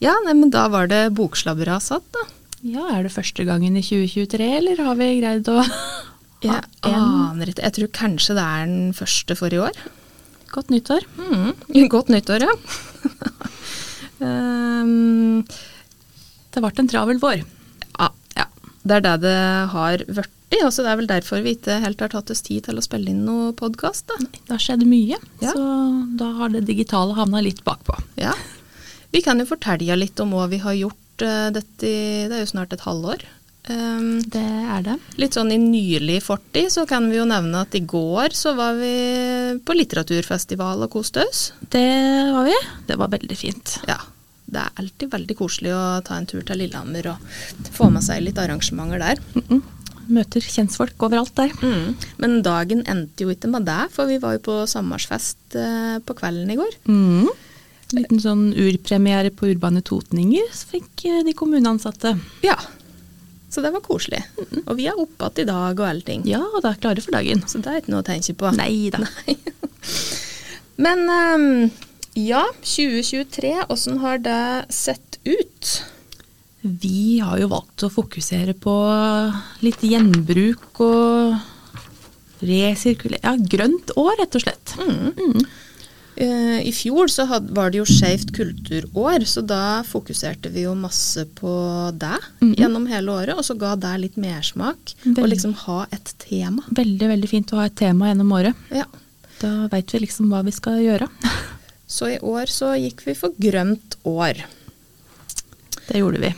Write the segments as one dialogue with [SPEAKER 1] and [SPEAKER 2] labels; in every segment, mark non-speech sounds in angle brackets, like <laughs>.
[SPEAKER 1] Ja, nei, men da var det bokslabberasat, da.
[SPEAKER 2] Ja, er det første gangen i 2023, eller har vi greid å <laughs> ha
[SPEAKER 1] Jeg
[SPEAKER 2] en
[SPEAKER 1] aner ikke. Jeg tror kanskje det er den første for i år.
[SPEAKER 2] godt nyttår?
[SPEAKER 1] Mm. <laughs> Godt nyttår, ja. <laughs> Ehm,
[SPEAKER 2] Det ble en travel vår.
[SPEAKER 1] ja. ja. Det er det det har vært i. Også det er vel derfor vi ikke helt har tatt oss tid til å spille inn noe podkast.
[SPEAKER 2] Det har skjedd mye,
[SPEAKER 1] Ja.
[SPEAKER 2] så da har det digitale havna litt bakpå.
[SPEAKER 1] Ja. Vi kan jo fortelle litt om hva vi har gjort eh, dette i Det er jo snart et halvår. Ehm,
[SPEAKER 2] Det er det.
[SPEAKER 1] litt sånn i nylig fortid så kan vi jo nevne at i går så var vi på litteraturfestival og koste oss.
[SPEAKER 2] Det var vi. Det var veldig fint.
[SPEAKER 1] Ja. Det er alltid veldig koselig å ta en tur til Lillehammer og få med seg litt arrangementer der.
[SPEAKER 2] Mm. Møter kjentfolk overalt der.
[SPEAKER 1] Men dagen endte jo ikke med det, for vi var jo på sommerfest eh, på kvelden i går.
[SPEAKER 2] Mm. Liten sånn urpremiere på Urbane Totninger så fikk eh, de kommuneansatte.
[SPEAKER 1] Ja. Så det var koselig. Og vi er oppe igjen i dag og allting.
[SPEAKER 2] Ja, og da er klare for dagen.
[SPEAKER 1] Så det er ikke noe å tenke på.
[SPEAKER 2] Nei da.
[SPEAKER 1] <laughs> Men ehm, ja, 2023, åssen har det sett ut?
[SPEAKER 2] Vi har jo valgt å fokusere på litt gjenbruk og resirkulere Ja, grønt år, rett og slett. Mm.
[SPEAKER 1] Eh, I fjor så had, var det jo skeivt kulturår, så da fokuserte vi jo masse på det
[SPEAKER 2] Mhm.
[SPEAKER 1] gjennom hele året, og så ga det litt mersmak å
[SPEAKER 2] Veldig.
[SPEAKER 1] liksom ha et tema.
[SPEAKER 2] Veldig, veldig fint å ha et tema gjennom året.
[SPEAKER 1] Ja.
[SPEAKER 2] Da veit vi liksom hva vi skal gjøre. <laughs>
[SPEAKER 1] Så i år så gikk vi for grønt år.
[SPEAKER 2] Det gjorde vi.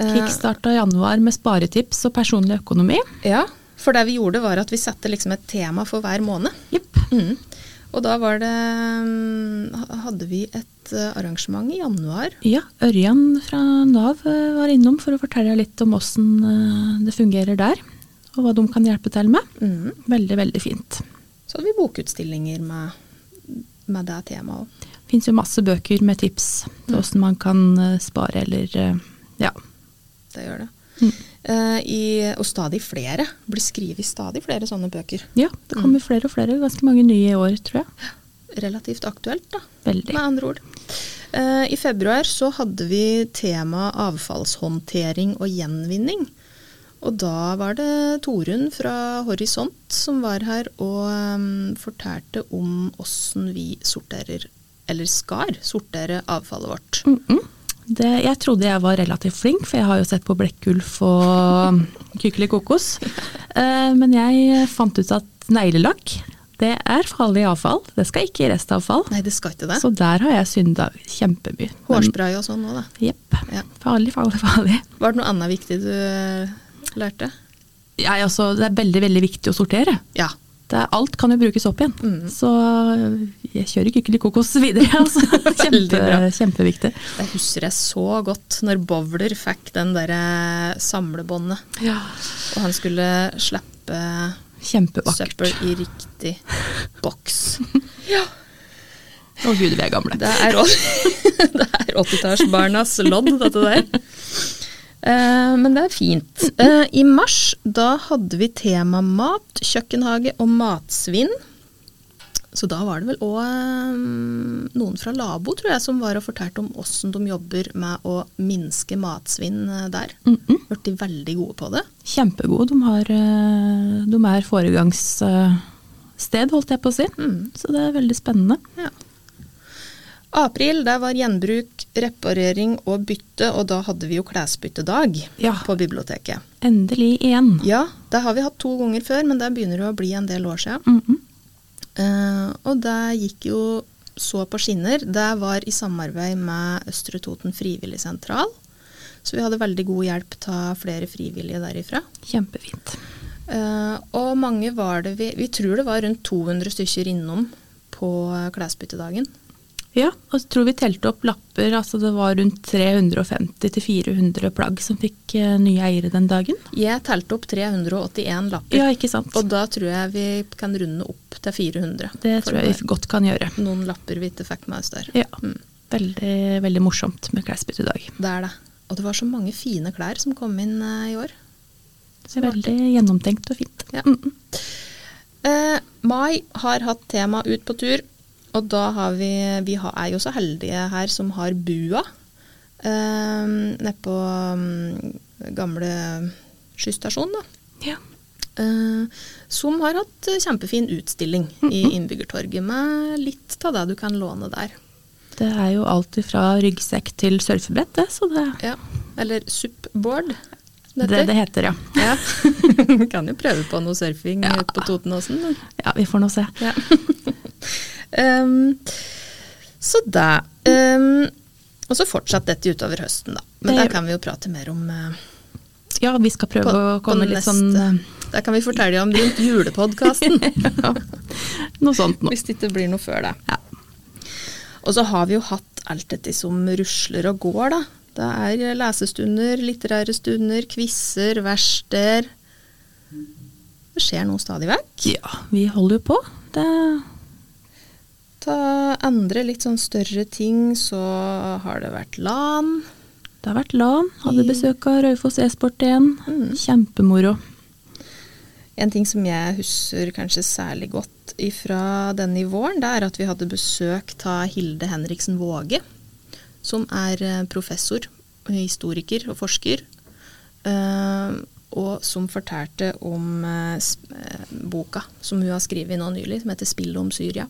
[SPEAKER 1] Eh.
[SPEAKER 2] Kickstarta i januar med sparetips og personlig økonomi.
[SPEAKER 1] Ja, for det vi gjorde var at vi satte liksom et tema for hver måned.
[SPEAKER 2] Jepp.
[SPEAKER 1] Mm. Og da var det mm, ha- Hadde vi et eh, arrangement i januar?
[SPEAKER 2] Ja, Ørjan fra Nav eh, var innom for å fortelle litt om åssen eh, det fungerer der. Og hva de kan hjelpe til med.
[SPEAKER 1] Mm.
[SPEAKER 2] Veldig, veldig fint.
[SPEAKER 1] Så hadde vi bokutstillinger med, med det temaet òg.
[SPEAKER 2] Det fins jo masse bøker med tips til
[SPEAKER 1] Mm.
[SPEAKER 2] åssen man kan eh, spare eller eh, ja.
[SPEAKER 1] Det gjør det.
[SPEAKER 2] Mm.
[SPEAKER 1] Eh, i, og stadig flere. Blir skrevet stadig flere sånne bøker.
[SPEAKER 2] Ja, det kommer
[SPEAKER 1] Mm.
[SPEAKER 2] flere og flere. Ganske mange nye i år, tror jeg.
[SPEAKER 1] Relativt aktuelt, da.
[SPEAKER 2] Veldig.
[SPEAKER 1] Med andre ord. Eh, I februar så hadde vi tema avfallshåndtering og gjenvinning. Og da var det Torunn fra Horisont som var her og eh, fortalte om åssen vi sorterer, eller skal sortere avfallet vårt.
[SPEAKER 2] Mhm. Det, jeg trodde jeg var relativt flink, for jeg har jo sett på Blekkulf og um, Kykeli
[SPEAKER 1] <laughs>
[SPEAKER 2] kokos. Eh, Men jeg fant ut at neglelakk, det er farlig avfall. Det skal ikke i restavfall.
[SPEAKER 1] Nei, det skal ikke det.
[SPEAKER 2] Så der har jeg synda kjempemye.
[SPEAKER 1] Hårspray og sånn òg, da.
[SPEAKER 2] Jepp.
[SPEAKER 1] Ja.
[SPEAKER 2] Farlig, farlig, farlig.
[SPEAKER 1] Var det noe annet viktig du eh, lærte?
[SPEAKER 2] Jeg, altså, det er veldig, veldig viktig å sortere.
[SPEAKER 1] Ja.
[SPEAKER 2] Det er, alt kan jo brukes opp igjen.
[SPEAKER 1] Mhm.
[SPEAKER 2] Så eh, jeg kjører Kykeli kokos videre. <laughs> Altså.
[SPEAKER 1] Veldig
[SPEAKER 2] Kjempe,
[SPEAKER 1] bra.
[SPEAKER 2] kjempeviktig.
[SPEAKER 1] Det husker jeg så godt når Bowler fikk den derre samlebåndet, og han skulle slippe
[SPEAKER 2] Kjempevakkert.
[SPEAKER 1] søppel i riktig boks. Ja.
[SPEAKER 2] Å gud, vi er gamle.
[SPEAKER 1] Det er, å- <laughs> det er 80-tallsbarnas lodd, dette der. Eh, men det er fint. Eh, I mars da hadde vi tema mat, kjøkkenhage og matsvinn. Så da var det vel òg noen fra Labo tror jeg, som var og fortalte om åssen de jobber med å minske matsvinn eh, der.
[SPEAKER 2] Mhm.
[SPEAKER 1] Blitt de veldig gode på det.
[SPEAKER 2] Kjempegode. De, har, eh, de er foregangssted, holdt jeg på å si.
[SPEAKER 1] Mm.
[SPEAKER 2] Så det er veldig spennende.
[SPEAKER 1] Ja. April, der var gjenbruk, reparering og bytte, og da hadde vi jo klesbyttedag
[SPEAKER 2] Ja.
[SPEAKER 1] på biblioteket.
[SPEAKER 2] Endelig igjen.
[SPEAKER 1] Ja, det har vi hatt to ganger før, men det begynner det å bli en del år siden.
[SPEAKER 2] Mhm.
[SPEAKER 1] Eh, og det gikk jo så på skinner. Det var i samarbeid med Østre Toten frivilligsentral. Så vi hadde veldig god hjelp av flere frivillige derifra.
[SPEAKER 2] Kjempefint.
[SPEAKER 1] Eh, og mange var det vi Vi tror det var rundt 200 stykker innom på eh, klesbyttedagen.
[SPEAKER 2] Ja, og så tror vi telte opp lapper. altså Det var rundt 350-400 plagg som fikk eh, nye eiere den dagen.
[SPEAKER 1] Jeg telte opp 381 lapper,
[SPEAKER 2] Ja, ikke sant?
[SPEAKER 1] og da tror jeg vi kan runde opp til 400.
[SPEAKER 2] det
[SPEAKER 1] For
[SPEAKER 2] tror jeg vi godt kan gjøre.
[SPEAKER 1] var Noen lapper vi ikke fikk med oss der.
[SPEAKER 2] Ja.
[SPEAKER 1] Mm.
[SPEAKER 2] Veldig, veldig morsomt med klesbytte i dag.
[SPEAKER 1] Det er det. Og det var så mange fine klær som kom inn eh, i år.
[SPEAKER 2] Veldig gjennomtenkt og fint.
[SPEAKER 1] Ja.
[SPEAKER 2] Mhm.
[SPEAKER 1] Eh, mai har hatt tema Ut på tur, og da har vi Vi har, er jo så heldige her som har bua. eh, nede på mm, gamle skysstasjon, da.
[SPEAKER 2] Ja.
[SPEAKER 1] Eh, som har hatt eh, kjempefin utstilling
[SPEAKER 2] <laughs>
[SPEAKER 1] i Innbyggertorget, med litt av det du kan låne der.
[SPEAKER 2] Det er jo alt fra ryggsekk til surfebrett, det. Så det
[SPEAKER 1] Ja. Eller supboard.
[SPEAKER 2] det, det, det heter, ja.
[SPEAKER 1] Ja. <laughs> kan jo prøve på noe surfing
[SPEAKER 2] Ja.
[SPEAKER 1] ute på Totenåsen. men-
[SPEAKER 2] Ja, vi får nå se.
[SPEAKER 1] <laughs> Ja. Ehm, så da. ehm, og så fortsatt dette utover høsten, da. Men
[SPEAKER 2] Det
[SPEAKER 1] der
[SPEAKER 2] gjør
[SPEAKER 1] kan vi jo prate mer om eh,
[SPEAKER 2] Ja, vi skal prøve å komme litt sånn <laughs> eh,
[SPEAKER 1] Der kan vi fortelle om rundt julepodkasten,
[SPEAKER 2] <laughs> ja, Noe sånt nå.
[SPEAKER 1] hvis det ikke blir noe før det.
[SPEAKER 2] Ja.
[SPEAKER 1] Og så har vi jo hatt alt dette som rusler og går, da. Det er lesestunder, litterære stunder, quizer, verksteder. Det skjer noe stadig vekk.
[SPEAKER 2] ja, vi holder jo på. Det,
[SPEAKER 1] Ta andre litt sånn større ting, så har det vært LAN.
[SPEAKER 2] det har vært LAN.
[SPEAKER 1] Mm.
[SPEAKER 2] Hadde besøk av Raufoss e-sport igjen. Kjempemoro.
[SPEAKER 1] En ting som jeg husker kanskje særlig godt ifra denne i våren, det er at vi hadde besøk av Hilde Henriksen Våge, som er eh, professor, historiker og forsker, eh, og som fortalte om eh, sp- eh, boka som hun har skrevet nå nylig, som heter 'Spillet om Syria'.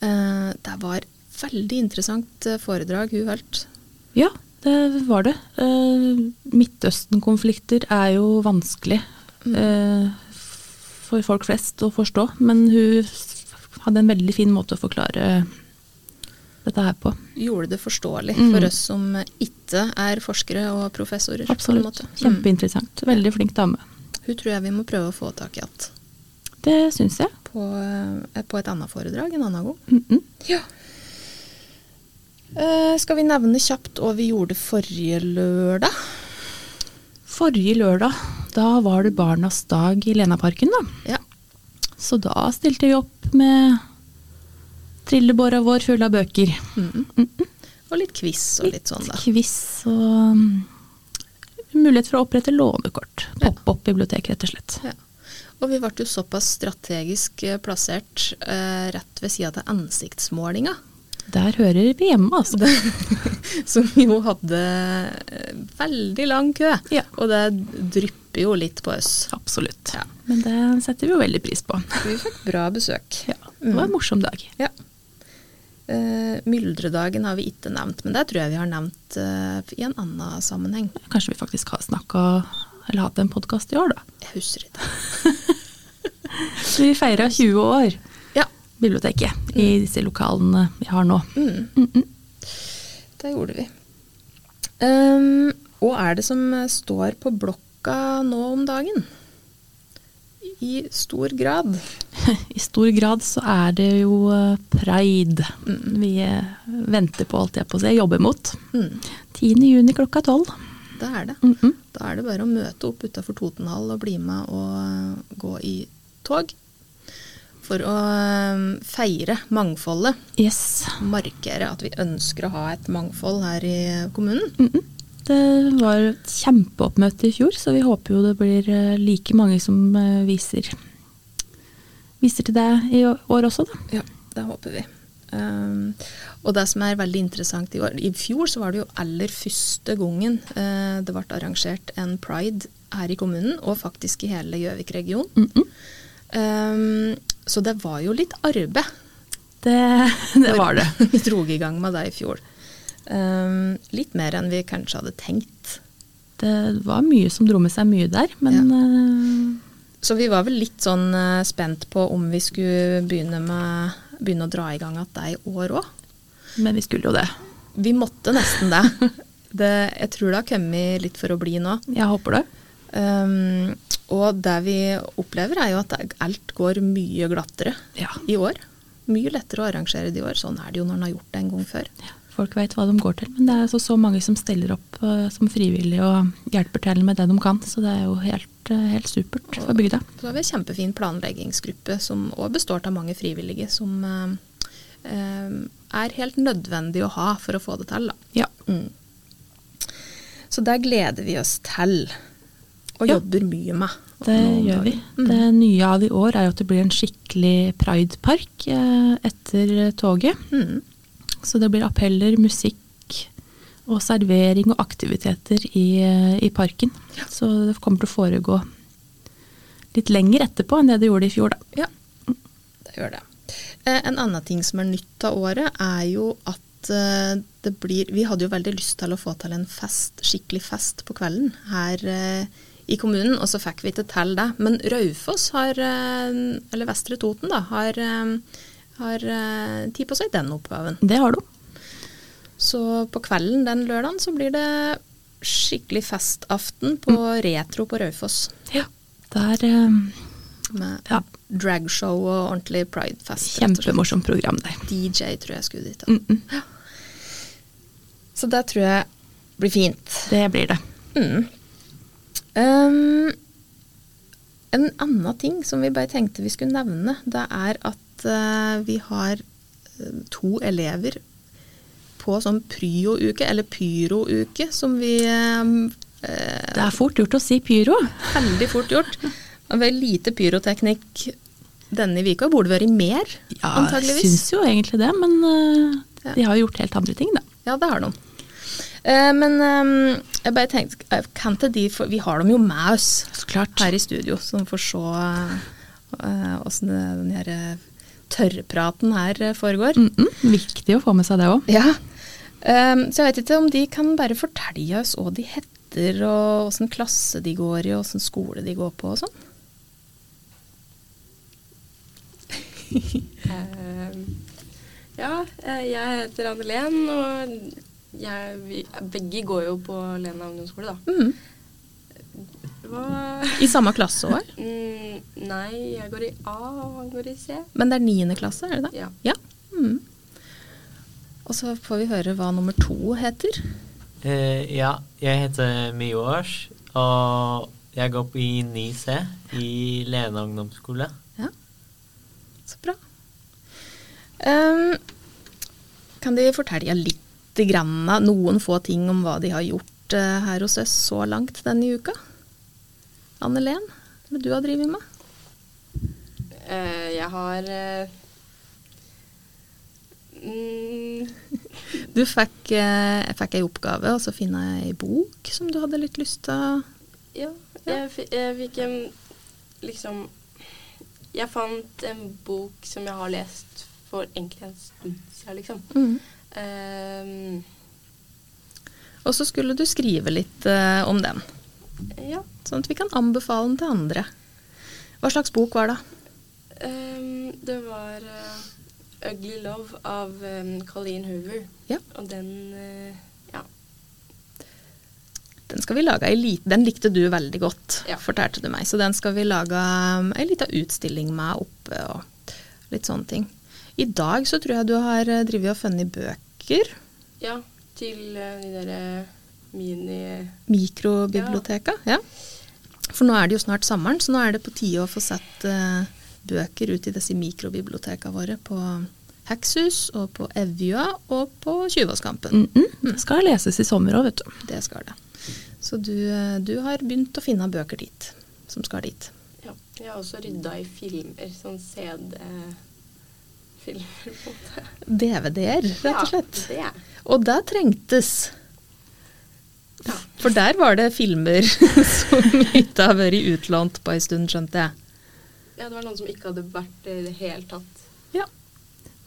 [SPEAKER 1] Eh, Det var veldig interessant eh, foredrag hun holdt.
[SPEAKER 2] Ja, det var det. Eh, Midtøsten-konflikter er jo vanskelig
[SPEAKER 1] Mm.
[SPEAKER 2] eh, for folk flest å forstå, men hun s- hadde en veldig fin måte å forklare dette her på.
[SPEAKER 1] gjorde det forståelig
[SPEAKER 2] Mm.
[SPEAKER 1] for oss som ikke er forskere og professorer. På en
[SPEAKER 2] Absolutt.
[SPEAKER 1] måte. Mm.
[SPEAKER 2] Kjempeinteressant. Veldig flink dame.
[SPEAKER 1] Hun tror jeg vi må prøve å få tak i igjen
[SPEAKER 2] Det syns jeg.
[SPEAKER 1] på, eh, på et annet foredrag en annen gang.
[SPEAKER 2] Mm -mm.
[SPEAKER 1] Ja. Eh, skal vi nevne kjapt hva vi gjorde forrige lørdag?
[SPEAKER 2] Forrige lørdag, da var det Barnas dag i Lenaparken, da.
[SPEAKER 1] Ja.
[SPEAKER 2] Så da stilte vi opp med trillebåra vår full av bøker.
[SPEAKER 1] Mm. Og litt quiz og litt sånn, da.
[SPEAKER 2] quiz og um, mulighet for å opprette lånekort. Poppe opp bibliotek, rett og slett.
[SPEAKER 1] Ja. Og vi ble jo såpass strategisk eh, plassert eh, rett ved sida av ansiktsmålinga. <laughs>
[SPEAKER 2] Der hører vi hjemme, altså.
[SPEAKER 1] Som jo hadde eh, veldig lang kø.
[SPEAKER 2] Ja.
[SPEAKER 1] Og det drypper jo litt på oss.
[SPEAKER 2] <laughs> Absolutt.
[SPEAKER 1] Ja.
[SPEAKER 2] Men det setter vi jo veldig pris på.
[SPEAKER 1] Vi fikk bra besøk.
[SPEAKER 2] Ja, det
[SPEAKER 1] Mm.
[SPEAKER 2] var en morsom dag.
[SPEAKER 1] Ja. Eh, myldredagen har vi ikke nevnt, men det tror jeg vi har nevnt eh, i en annen sammenheng.
[SPEAKER 2] Kanskje vi faktisk har snakka eller hatt en podkast i år, da.
[SPEAKER 1] Jeg husker ikke.
[SPEAKER 2] Så vi feira 20 år,
[SPEAKER 1] Ja,
[SPEAKER 2] biblioteket, i
[SPEAKER 1] Mm.
[SPEAKER 2] disse lokalene vi har nå.
[SPEAKER 1] det gjorde vi. Ehm, hva er det som eh, står på blokka nå om dagen? I stor grad.
[SPEAKER 2] <laughs> I stor grad så er det jo eh, pride vi eh, venter på, holdt jeg på å si, jobber mot.
[SPEAKER 1] Mm,
[SPEAKER 2] 10. juni klokka tolv.
[SPEAKER 1] det er det.
[SPEAKER 2] Mm -mm.
[SPEAKER 1] Da er det bare å møte opp utafor Totenhall og bli med og eh, gå i tog. For å eh, feire mangfoldet.
[SPEAKER 2] Yes.
[SPEAKER 1] markere at vi ønsker å ha et mangfold her i kommunen.
[SPEAKER 2] Mm. Det var et kjempeoppmøte i fjor, så vi håper jo det blir eh, like mange som eh, viser, viser til deg i å- år også, da.
[SPEAKER 1] Ja, det håper vi. Um, og det som er veldig interessant i år I fjor så var det jo aller første gangen eh, det ble arrangert en pride her i kommunen, og faktisk i hele Gjøvik-regionen.
[SPEAKER 2] Mm-mm.
[SPEAKER 1] Um, så det var jo litt arbeid. <laughs>
[SPEAKER 2] Det, <laughs> det var det.
[SPEAKER 1] Vi dro i gang med det i fjor. Um, litt mer enn vi kanskje hadde tenkt.
[SPEAKER 2] Det var mye som dro med seg mye der, men eh,
[SPEAKER 1] Så vi var vel litt sånn eh, spent på om vi skulle begynne, med, begynne å dra i gang at det er i år òg.
[SPEAKER 2] Men vi skulle jo det.
[SPEAKER 1] Vi måtte nesten det. det jeg tror det har kommet litt for å bli nå.
[SPEAKER 2] Jeg håper det.
[SPEAKER 1] Um, og det vi opplever er jo at det- alt går mye glattere
[SPEAKER 2] Ja.
[SPEAKER 1] i år. Mye lettere å arrangere det i år. Sånn er det jo når en har gjort det en gang før.
[SPEAKER 2] Folk veit hva de går til, men det er altså så mange som stiller opp eh, som frivillige og hjelper til med det de kan, så det er jo helt, eh, helt supert for bygda.
[SPEAKER 1] Så har vi en kjempefin planleggingsgruppe som òg består av mange frivillige, som eh, eh, er helt nødvendig å ha for å få det til. da.
[SPEAKER 2] Ja.
[SPEAKER 1] Mm. Så der gleder vi oss til, og
[SPEAKER 2] Ja.
[SPEAKER 1] jobber mye med.
[SPEAKER 2] Det
[SPEAKER 1] nå om Mm.
[SPEAKER 2] gjør vi.
[SPEAKER 1] dagen.
[SPEAKER 2] Det nye av i år er jo at det blir en skikkelig pridepark eh, etter toget.
[SPEAKER 1] Mm.
[SPEAKER 2] Så det blir appeller, musikk, Og servering og aktiviteter i, eh, i parken. Så det kommer til å foregå litt lenger etterpå enn det det gjorde i fjor, da.
[SPEAKER 1] Ja, det gjør det. Eh, en annen ting som er nytt av året, er jo at eh, det blir Vi hadde jo veldig lyst til å få til en fest, skikkelig fest på kvelden her eh, i kommunen, og så fikk vi ikke til det. Men Raufoss har, eh, eller Vestre Toten, da, har, eh, har eh, tid på seg den oppgaven.
[SPEAKER 2] Det har du.
[SPEAKER 1] Så på kvelden den lørdagen så blir det skikkelig festaften på retro på Raufoss.
[SPEAKER 2] Ja. Der eh,
[SPEAKER 1] Med
[SPEAKER 2] Ja.
[SPEAKER 1] dragshow og ordentlig pridefest. rett og slett.
[SPEAKER 2] Kjempemorsomt program der.
[SPEAKER 1] DJ tror jeg skulle dit. Da.
[SPEAKER 2] Mm -mm.
[SPEAKER 1] Så det tror jeg blir fint.
[SPEAKER 2] Det blir det.
[SPEAKER 1] Mm. Um, en annen ting som vi bare tenkte vi skulle nevne, det er at eh, vi har eh, to elever på sånn pryo-uke, eller pyro-uke, som vi eh, eh,
[SPEAKER 2] Det er fort gjort å si pyro.
[SPEAKER 1] Veldig fort gjort. Men vel lite pyroteknikk denne vika. Burde vært mer,
[SPEAKER 2] Ja, jeg
[SPEAKER 1] antageligvis.
[SPEAKER 2] syns jo egentlig det, men eh, de har jo gjort helt andre ting, da.
[SPEAKER 1] Ja, det har de. Eh, men eh, jeg bare tenkte, eh, kan ikke de få Vi har dem jo med oss
[SPEAKER 2] Så klart.
[SPEAKER 1] her i studio, så de får se åssen den her eh, tørrpraten her eh, foregår.
[SPEAKER 2] Mm -mm. Viktig å få med seg det òg.
[SPEAKER 1] Ja. Eh, så jeg vet ikke om de kan bare fortelle oss hva de heter, og åssen klasse de går i, og åssen skole de går på og sånn.
[SPEAKER 3] Eh, Ja, eh, jeg heter Anne-Len, og jeg, vi, begge går jo på Lena ungdomsskole, da.
[SPEAKER 1] Mhm.
[SPEAKER 3] Hva
[SPEAKER 1] I samme klasse òg?
[SPEAKER 3] <laughs> mm, Nei, jeg går i A, og han går i C.
[SPEAKER 1] <laughs> Men det er niende klasse, er det det?
[SPEAKER 3] Ja.
[SPEAKER 1] Mm. Og så får vi høre hva nummer to heter.
[SPEAKER 4] Eh, ja, jeg heter Miors, og jeg går på i 9C i Lena ungdomsskole.
[SPEAKER 1] Ja. Så bra. Ehm, kan de fortelle litt grann, noen få ting om hva de har gjort eh, her hos oss så langt denne uka? Anne Len, hva er det du har drevet med?
[SPEAKER 3] Eh, jeg har eh, mm,
[SPEAKER 1] Du fikk, eh, jeg fikk ei oppgave, og så finne ei bok som du hadde litt lyst til.
[SPEAKER 3] Ja, jeg, fi- jeg fikk en liksom Jeg fant en bok som jeg har lest for egentlig en stund siden, liksom.
[SPEAKER 1] Mm.
[SPEAKER 3] Eh,
[SPEAKER 1] Og så skulle du skrive litt eh, om den.
[SPEAKER 3] ja.
[SPEAKER 1] Sånn at vi kan anbefale den til andre. Hva slags bok var det?
[SPEAKER 3] Ehm, det var eh, 'Ugly Love' av em, Colleen Hoover.
[SPEAKER 1] Ja.
[SPEAKER 3] Og den eh, ja,
[SPEAKER 1] Den skal vi lage ei lit- Den likte du veldig godt,
[SPEAKER 3] Ja.
[SPEAKER 1] fortalte du meg. Så den skal vi lage um, ei lita utstilling med oppe og litt sånne ting. I dag så tror jeg du har eh, drevet og funnet bøker.
[SPEAKER 3] ja, til eh, de derre mini...
[SPEAKER 1] Mikrobiblioteka. Ja. For nå er det jo snart sommeren, så nå er det på tide å få sett eh, bøker ut i disse mikrobibliotekene våre på Hekshus og på Evja og på Tjuvåskampen.
[SPEAKER 2] Mm -mm. Skal leses i sommer òg, vet du.
[SPEAKER 1] Det skal det. Så du, eh, du har begynt å finne bøker dit, som skal dit.
[SPEAKER 3] Ja. Jeg har også rydda i filmer, sånn CD-filmer, på en måte.
[SPEAKER 1] DVD-er, rett og slett.
[SPEAKER 3] Ja,
[SPEAKER 1] Og det trengtes.
[SPEAKER 3] det. Ja.
[SPEAKER 1] For der var det filmer <laughs> som ikke har vært utlånt på en stund, skjønte jeg.
[SPEAKER 3] ja, det var noen som ikke hadde vært det i det hele tatt.
[SPEAKER 1] Ja.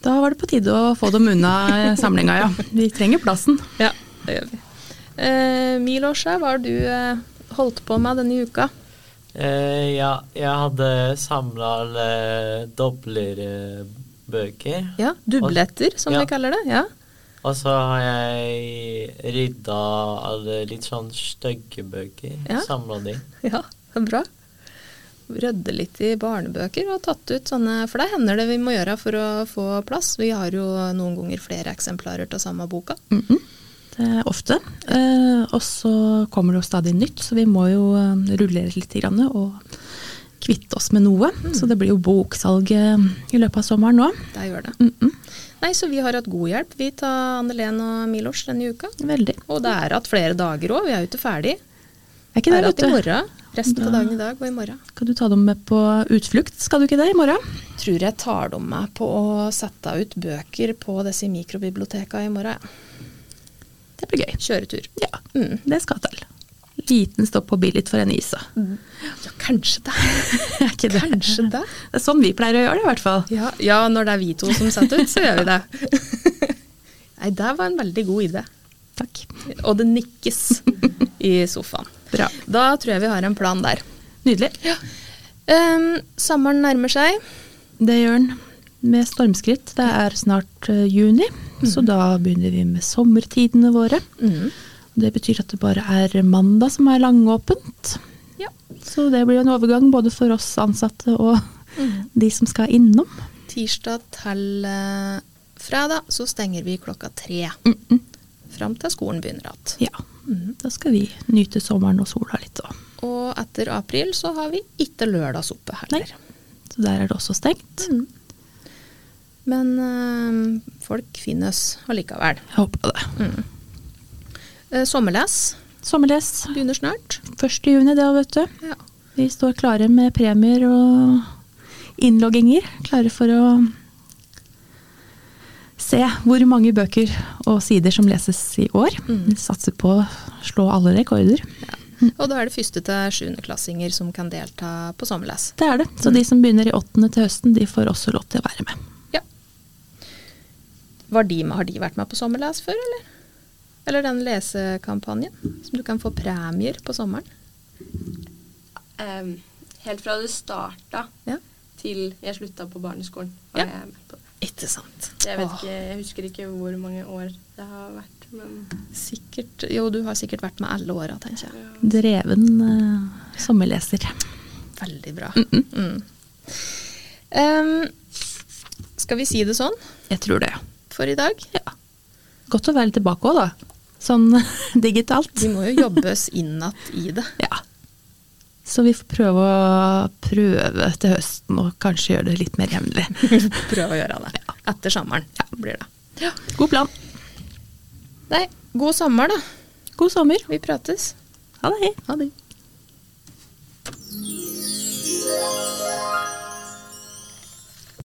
[SPEAKER 2] Da var det på tide å få dem unna samlinga, ja. Vi trenger plassen.
[SPEAKER 1] ja det gjør vi. Eh, Milosja, hva har du eh, holdt på med denne uka?
[SPEAKER 4] Eh, ja, jeg hadde eh, samla alle doblerbøker.
[SPEAKER 1] Ja, Dubletter, som
[SPEAKER 4] Ja.
[SPEAKER 1] vi kaller det. Ja.
[SPEAKER 4] Og så har jeg rydda alle litt sånn stygge bøker.
[SPEAKER 1] Ja.
[SPEAKER 4] Samla de.
[SPEAKER 1] ja, det er bra. Rødde litt i barnebøker og tatt ut sånne, for det hender det vi må gjøre for å få plass. Vi har jo noen ganger flere eksemplarer til samme boka.
[SPEAKER 2] Mhm. Det er ofte. Eh, og så kommer det jo stadig nytt, så vi må jo eh, rullere litt grann, og kvitte oss med noe. Så det blir jo boksalg eh, i løpet av sommeren nå.
[SPEAKER 1] Det gjør det.
[SPEAKER 2] Mhm.
[SPEAKER 1] Nei, så vi har hatt god hjelp, vi tar Annelen og Milos denne uka.
[SPEAKER 2] Veldig.
[SPEAKER 1] Og det er hatt flere dager òg, vi er jo ikke ferdig.
[SPEAKER 2] Er
[SPEAKER 1] Det
[SPEAKER 2] ikke det,
[SPEAKER 1] er
[SPEAKER 2] vet
[SPEAKER 1] hatt i
[SPEAKER 2] du.
[SPEAKER 1] morgen. Resten av
[SPEAKER 2] Da-
[SPEAKER 1] dagen i dag og i morgen.
[SPEAKER 2] Skal du ta dem med på utflukt? Skal du ikke det i morgen?
[SPEAKER 1] Tror jeg tar dem med på å sette ut bøker på disse mikrobibliotekene i morgen. ja.
[SPEAKER 2] Det blir gøy.
[SPEAKER 1] Kjøretur.
[SPEAKER 2] Ja,
[SPEAKER 1] Mm.
[SPEAKER 2] det skal til. Liten stopp på Billit for en isa.
[SPEAKER 1] Ja, kanskje det. <laughs>
[SPEAKER 2] <laughs> Er ikke det?
[SPEAKER 1] Kanskje Mm. det.
[SPEAKER 2] Det er sånn vi pleier å gjøre det, i hvert fall.
[SPEAKER 1] Ja, ja, når det er vi to som setter ut, så gjør vi det. <laughs> Nei, det var en veldig god idé.
[SPEAKER 2] Takk.
[SPEAKER 1] Og det nikkes i sofaen.
[SPEAKER 2] Bra.
[SPEAKER 1] Da tror jeg vi har en plan der.
[SPEAKER 2] Nydelig.
[SPEAKER 1] Ehm, sommeren nærmer seg.
[SPEAKER 2] Det gjør den med stormskritt. Det er snart eh, juni, så da begynner vi med sommertidene våre. Det betyr at det bare er mandag som er langåpent.
[SPEAKER 1] Ja.
[SPEAKER 2] Så det blir en overgang både for oss ansatte og
[SPEAKER 1] Mhm.
[SPEAKER 2] de som skal innom.
[SPEAKER 1] Tirsdag til eh, fredag så stenger vi klokka tre. Fram til skolen begynner igjen.
[SPEAKER 2] Ja. mm, Da skal vi nyte sommeren og sola litt òg.
[SPEAKER 1] Og etter april så har vi ikke lørdagsoppe heller.
[SPEAKER 2] Så der er det også stengt.
[SPEAKER 1] Mm. Men eh, folk finnes allikevel.
[SPEAKER 2] Jeg håper det.
[SPEAKER 1] Eh, sommerles
[SPEAKER 2] Sommerles
[SPEAKER 1] begynner snart.
[SPEAKER 2] 1. juni, det òg, vet du.
[SPEAKER 1] Ja.
[SPEAKER 2] Vi står klare med premier og innlogginger. Klare for å se hvor mange bøker og sider som leses i år. Vi Satser på å slå alle rekorder.
[SPEAKER 1] Og da er det første til sjuendeklassinger som kan delta på sommerles.
[SPEAKER 2] Det er det. Så de som begynner i åttende til høsten, de får også lov til å være med.
[SPEAKER 1] Ja. Var de med, har de vært med på sommerles før, eller? Eller den lesekampanjen som du kan få premier på sommeren?
[SPEAKER 3] Em, Ehm, helt fra det starta
[SPEAKER 1] Ja.
[SPEAKER 3] til jeg slutta på barneskolen. var
[SPEAKER 1] Ja.
[SPEAKER 3] jeg med på det.
[SPEAKER 1] Ikke sant.
[SPEAKER 3] Jeg, vet
[SPEAKER 1] Åh,
[SPEAKER 3] ikke, jeg husker ikke hvor mange år det har vært, men
[SPEAKER 1] Sikkert, jo, du har sikkert vært med alle åra, tenker jeg.
[SPEAKER 3] ja.
[SPEAKER 2] Dreven eh, sommerleser.
[SPEAKER 1] Veldig bra. Mm. Em, skal vi si det sånn
[SPEAKER 2] Jeg tror det.
[SPEAKER 1] for i dag?
[SPEAKER 2] Godt å være litt tilbake òg, da. Sånn <laughs> digitalt.
[SPEAKER 1] Vi må jo jobbe oss inn igjen i det.
[SPEAKER 2] Ja. Så vi får prøve å prøve til høsten og kanskje gjøre det litt mer jevnlig.
[SPEAKER 1] <laughs> <laughs> Prøve å gjøre det. Etter sommeren blir det.
[SPEAKER 2] God plan.
[SPEAKER 1] Nei, god sommer, da.
[SPEAKER 2] God sommer.
[SPEAKER 1] Vi prates.
[SPEAKER 2] Ha det.
[SPEAKER 1] Ha det.